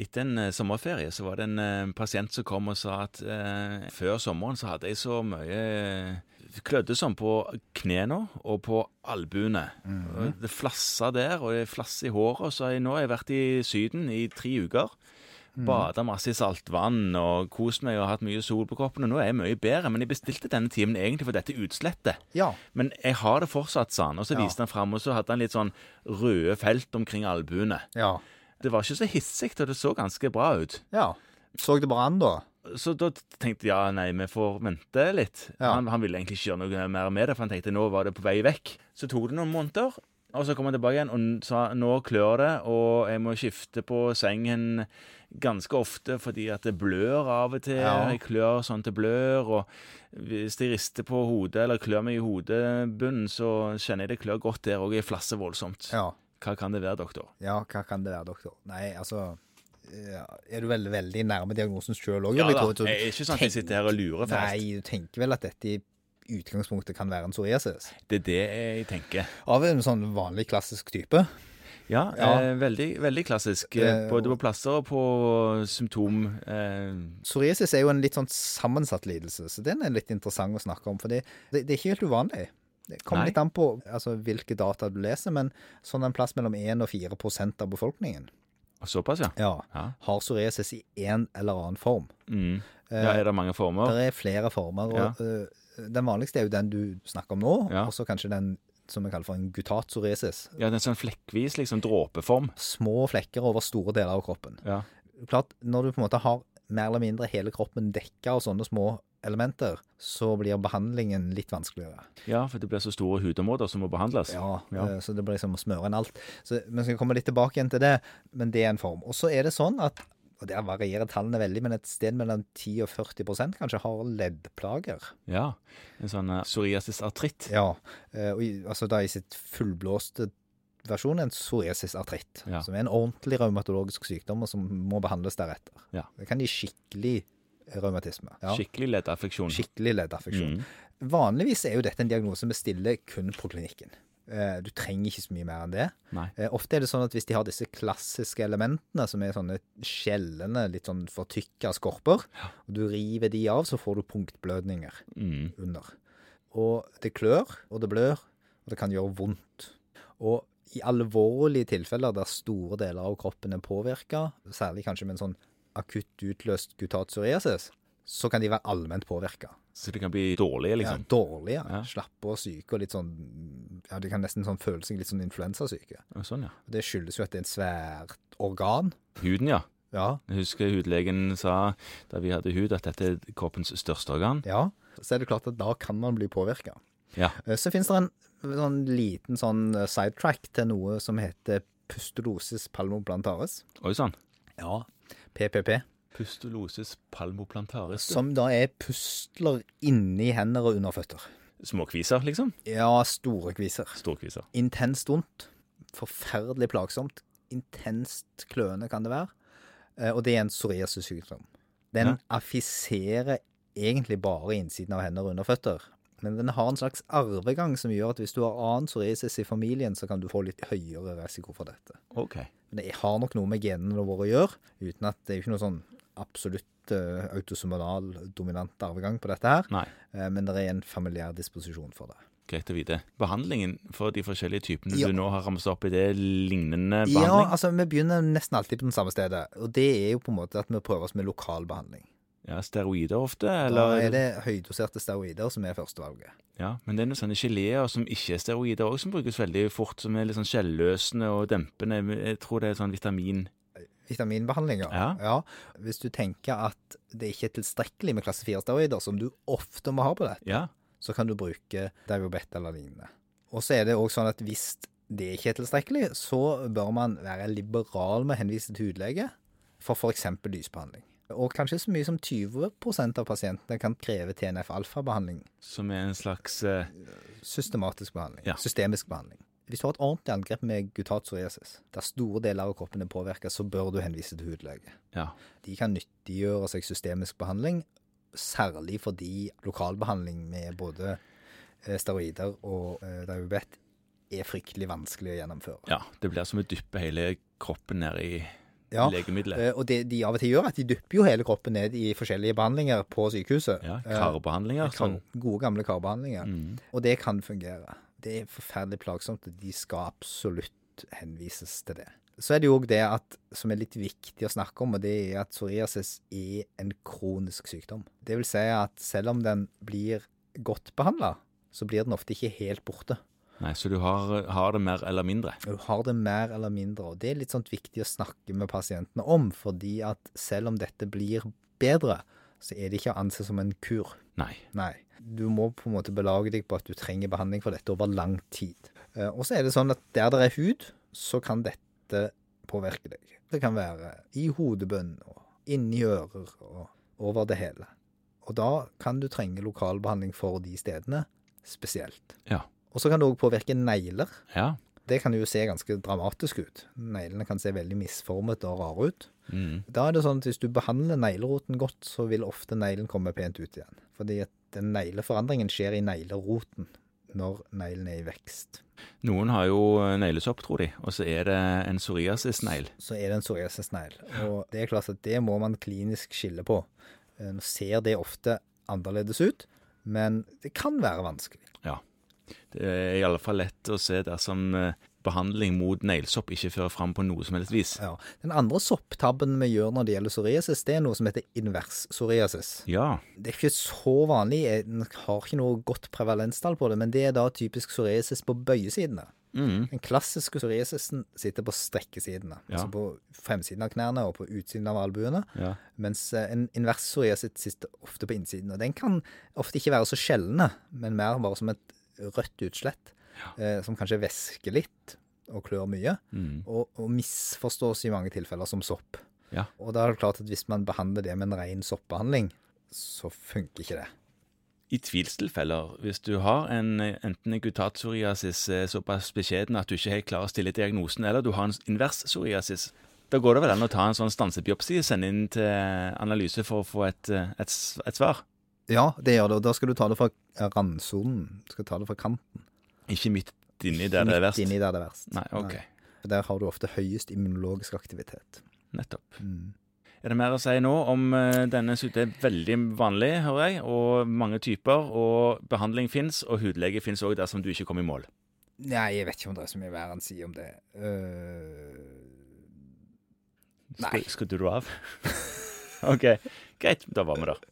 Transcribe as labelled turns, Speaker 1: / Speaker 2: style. Speaker 1: Etter en eh, sommerferie så var det en eh, pasient som kom og sa at eh, før sommeren så hadde jeg så mye eh, klødde sånn på knærne og på albuene. Og Det flassa der, og det flasser i håret. Og så har jeg nå har jeg vært i Syden i tre uker. Bada masse i saltvann og kost meg og hatt mye sol på kroppen. Og nå er jeg mye bedre, men jeg bestilte denne timen egentlig for dette utslettet.
Speaker 2: Ja.
Speaker 1: Men jeg har det fortsatt, sa han. Og så
Speaker 2: Ja.
Speaker 1: viste han fram, og så hadde han litt sånn røde felt omkring albuene.
Speaker 2: Ja.
Speaker 1: Det var ikke så hissig, og det så ganske bra ut.
Speaker 2: ja. Så det bare an, da?
Speaker 1: Så da tenkte jeg ja, nei, vi får vente litt.
Speaker 2: Ja.
Speaker 1: Han, han ville egentlig ikke gjøre noe mer med det, for han tenkte nå var det på vei vekk. Så tok det noen måneder, og så kom han tilbake igjen og n- sa nå klør det, og jeg må skifte på sengen ganske ofte fordi at det blør av og til.
Speaker 2: Ja.
Speaker 1: Jeg klør sånn til blør, og hvis de rister på hodet eller klør meg i hodebunnen, så kjenner jeg det klør godt der òg. Jeg flasser voldsomt.
Speaker 2: Ja.
Speaker 1: Hva kan det være, doktor?
Speaker 2: Ja, hva kan det være, doktor? Nei, altså ja, Er du vel veldig nærme diagnosen sjøl òg?
Speaker 1: Ja da, jeg er ikke sånn at jeg sitter her og lurer fast.
Speaker 2: Nei, du tenker vel at dette i utgangspunktet kan være en psoriasis?
Speaker 1: Det er det jeg tenker.
Speaker 2: Av en sånn vanlig klassisk type?
Speaker 1: Ja,
Speaker 2: Ja.
Speaker 1: Eh, veldig, veldig klassisk. Eh,
Speaker 2: Eh,
Speaker 1: både på plasser og på symptom. Eh,
Speaker 2: Psoriasis er jo en litt sånn sammensatt lidelse, så den er litt interessant å snakke om. For det, det er ikke helt uvanlig. Det kommer
Speaker 1: Nei.
Speaker 2: litt an på altså, hvilke data du leser, men sånn en plass mellom 1 og 4 prosent av befolkningen
Speaker 1: såpass, ja.
Speaker 2: ja,
Speaker 1: Ja.
Speaker 2: har psoriasis i en eller annen form.
Speaker 1: Mm.
Speaker 2: Eh,
Speaker 1: ja. Er det mange former?
Speaker 2: Det er flere former.
Speaker 1: Ja.
Speaker 2: Og, øh, den vanligste er jo den du snakker om nå,
Speaker 1: Ja.
Speaker 2: og så kanskje den som vi kaller for en gutatpsoriasis.
Speaker 1: Ja, det er en sånn flekkvis liksom dråpeform.
Speaker 2: Små flekker over store deler av kroppen.
Speaker 1: Ja.
Speaker 2: Klart, når du på en måte har mer eller mindre hele kroppen dekka av sånne små elementer, så blir behandlingen litt vanskeligere.
Speaker 1: ja, for det blir så store hudområder som må behandles.
Speaker 2: Ja,
Speaker 1: Ja.
Speaker 2: eh, så det blir liksom å smøre inn alt. Så Vi skal komme litt tilbake igjen til det, men det er en form. Og så er det sånn at og Der varierer tallene veldig, men et sted mellom 10 og 40 kanskje har leddplager.
Speaker 1: Ja. En sånn eh, psoriasis artritt.
Speaker 2: Ja, eh, og i, altså da i sitt fullblåste versjon en psoriasis artritt,
Speaker 1: Ja.
Speaker 2: som er en ordentlig reumatologisk sykdom og som må behandles deretter.
Speaker 1: Ja.
Speaker 2: Det kan gi skikkelig reumatisme. Ja.
Speaker 1: Skikkelig leddaffeksjon. Mm.
Speaker 2: Skikkelig leddaffeksjon. Vanligvis er jo dette en diagnose vi stiller kun på klinikken. Eh, Du trenger ikke så mye mer enn det.
Speaker 1: Nei.
Speaker 2: Eh, Ofte er det sånn at hvis de har disse klassiske elementene, som er sånne skjellende, litt sånn fortykka skorper, og du river de av, så får du punktblødninger
Speaker 1: Mm.
Speaker 2: under. Og det klør, og det blør, og det kan gjøre vondt. Og i alvorlige tilfeller der store deler av kroppen er påvirka, særlig kanskje med en sånn akutt utløst gutat psoriasis, så kan de være allment påvirka.
Speaker 1: Så det kan bli dårlig, liksom.
Speaker 2: Ja, dårlige,
Speaker 1: Ja.
Speaker 2: slappe og syke, og litt sånn Ja, de kan nesten sånn føle seg litt sånn influensasyke.
Speaker 1: Ja. Sånn, ja.
Speaker 2: Og Det skyldes jo at det er et svært organ.
Speaker 1: Huden, ja.
Speaker 2: Ja,
Speaker 1: Jeg husker hudlegen sa da vi hadde hud, at dette er kroppens største organ.
Speaker 2: Ja, så er det klart at da kan man bli påvirka.
Speaker 1: Ja.
Speaker 2: Eh, Så finnes det en sånn liten sånn sidetrack til noe som heter pustulosis palmoplantaris.
Speaker 1: Oi sånn. sann.
Speaker 2: Ja. PPP.
Speaker 1: Pustulosis palmoplantaris.
Speaker 2: Som da er pustler inni hender og under føtter.
Speaker 1: Småkviser, liksom.
Speaker 2: Ja, store kviser.
Speaker 1: Storkviser.
Speaker 2: Intenst vondt. Forferdelig plagsomt. Intenst kløende kan det være. Eh, Og det er en psoriasis-sykdom. Den
Speaker 1: Ja.
Speaker 2: affiserer egentlig bare innsiden av hender og underføtter. Men den har en slags arvegang som gjør at hvis du har annen psoriasis i familien, så kan du få litt høyere risiko for dette.
Speaker 1: Ok.
Speaker 2: Men det har nok noe med genene våre å gjøre, uten at det er jo ikke noe sånn absolutt eh, autosomal dominant arvegang på dette her.
Speaker 1: Nei.
Speaker 2: Eh, Men det er en familiær disposisjon for det.
Speaker 1: Greit å vite. Behandlingen for de forskjellige typene
Speaker 2: Ja.
Speaker 1: du nå har ramset opp i, det er lignende
Speaker 2: Ja,
Speaker 1: behandling?
Speaker 2: altså vi begynner nesten alltid på den samme stedet. Og det er jo på en måte at vi prøver oss med lokal behandling.
Speaker 1: Ja, steroider ofte,
Speaker 2: Da
Speaker 1: eller?
Speaker 2: er det høydoserte steroider som er førstevalget.
Speaker 1: Ja, men det er noen sånne geléer som ikke er steroider òg, som brukes veldig fort, som er litt sånn skjelløsende og dempende. Jeg tror det er sånn vitamin
Speaker 2: Vitaminbehandling, ja.
Speaker 1: Ja.
Speaker 2: Hvis du tenker at det ikke er tilstrekkelig med klasse 4-steroider, som du ofte må ha på det,
Speaker 1: Ja.
Speaker 2: så kan du bruke Diabet eller lignende. Og så er det òg sånn at hvis det ikke er tilstrekkelig, så bør man være liberal med å henvise til hudlege for f.eks. lysbehandling. Og kanskje så mye som 20 av pasientene kan kreve TNF-alfa-behandling
Speaker 1: Som er en slags eh,
Speaker 2: Systematisk behandling.
Speaker 1: Ja.
Speaker 2: Systemisk behandling. Hvis du har et ordentlig angrep med gutat psoriasis, der store deler av kroppen er påvirka, så bør du henvise til hudlege.
Speaker 1: Ja.
Speaker 2: De kan nyttiggjøre seg systemisk behandling, særlig fordi lokalbehandling med både eh, steroider og eh, diabet er fryktelig vanskelig å gjennomføre.
Speaker 1: ja. Det blir som å dyppe hele kroppen ned i
Speaker 2: Ja,
Speaker 1: legemiddelet.
Speaker 2: Eh, Og det de av og til gjør, er at de dypper jo hele kroppen ned i forskjellige behandlinger på sykehuset.
Speaker 1: Ja,
Speaker 2: Eh,
Speaker 1: Karbehandlinger. Sånn.
Speaker 2: Gode, gamle karbehandlinger.
Speaker 1: Mm.
Speaker 2: Og det kan fungere. Det er forferdelig plagsomt, og de skal absolutt henvises til det. Så er det jo òg det at, som er litt viktig å snakke om, og det er at psoriasis er en kronisk sykdom. Det vil si at selv om den blir godt behandla, så blir den ofte ikke helt borte.
Speaker 1: Nei, så du har, har det mer eller mindre.
Speaker 2: Du har det mer eller mindre, og det er litt sånn viktig å snakke med pasientene om, fordi at selv om dette blir bedre, så er det ikke å anse som en kur.
Speaker 1: Nei.
Speaker 2: Nei. Du må på en måte belage deg på at du trenger behandling for dette over lang tid. Eh, Og så er det sånn at der det er hud, så kan dette påvirke deg. Det kan være i hodebunnen og inni ører og over det hele. Og da kan du trenge lokalbehandling for de stedene spesielt.
Speaker 1: Ja.
Speaker 2: Og så kan det òg påvirke negler.
Speaker 1: Ja.
Speaker 2: Det kan jo se ganske dramatisk ut. Neglene kan se veldig misformet og rare ut.
Speaker 1: Mm.
Speaker 2: Da er det sånn at hvis du behandler negleroten godt, så vil ofte neglen komme pent ut igjen. Fordi at den negleforandringen skjer i negleroten når neglen er i vekst.
Speaker 1: Noen har jo eh, neglesopp, tror de, og så er det en psoriasis-negl.
Speaker 2: Så er det en psoriasisnegl. Og det er klart at det må man klinisk skille på. Eh, Nå ser det ofte annerledes ut, men det kan være vanskelig.
Speaker 1: Det er i alle fall lett å se dersom eh, behandling mot neglesopp ikke fører fram på noe som helst vis.
Speaker 2: Ja. Den andre sopptabben vi gjør når det gjelder psoriasis, det er noe som heter invers psoriasis.
Speaker 1: Ja.
Speaker 2: Det er ikke så vanlig, jeg har ikke noe godt prevalenstall på det, men det er da typisk psoriasis på bøyesidene.
Speaker 1: Mm.
Speaker 2: Den klassiske psoriasisen sitter på strekkesidene,
Speaker 1: Ja.
Speaker 2: altså på fremsiden av knærne og på utsiden av albuene,
Speaker 1: ja.
Speaker 2: mens eh, en invers psoriasis sitter ofte på innsiden. Og den kan ofte ikke være så sjeldne, men mer bare som et rødt utslett, eh, som kanskje væsker litt og klør mye,
Speaker 1: Mm.
Speaker 2: og, og misforstås i mange tilfeller som sopp.
Speaker 1: Ja.
Speaker 2: Og da er det klart at hvis man behandler det med en ren soppbehandling, så funker ikke det.
Speaker 1: I tvilstilfeller, hvis du har en, eh, enten en gutatpsoriasis eh, såpass beskjeden at du ikke helt klarer å stille diagnosen, eller du har en s- invers psoriasis, da går det vel an å ta en sånn stansebiopsi og sende inn til analyse for å få et, eh, et, s- et svar?
Speaker 2: Ja, det gjør det, og da skal du ta det fra randsonen. Du skal ta det fra kanten.
Speaker 1: Ikke midt inni der det er
Speaker 2: Midt
Speaker 1: verst?
Speaker 2: Inni der det er verst.
Speaker 1: Nei, ok.
Speaker 2: For Der har du ofte høyest immunologisk aktivitet. Mm.
Speaker 1: Nettopp. Er det mer å si nå om eh, denne sykdommen? Det er veldig vanlig, hører jeg, og mange typer. Og behandling fins, og hudlege fins òg dersom du ikke kommer i mål.
Speaker 2: Nei, jeg vet ikke om det er så mye mer enn å si om det. Øh, Nei.
Speaker 1: Skrudde du av? OK, greit. Da var vi der.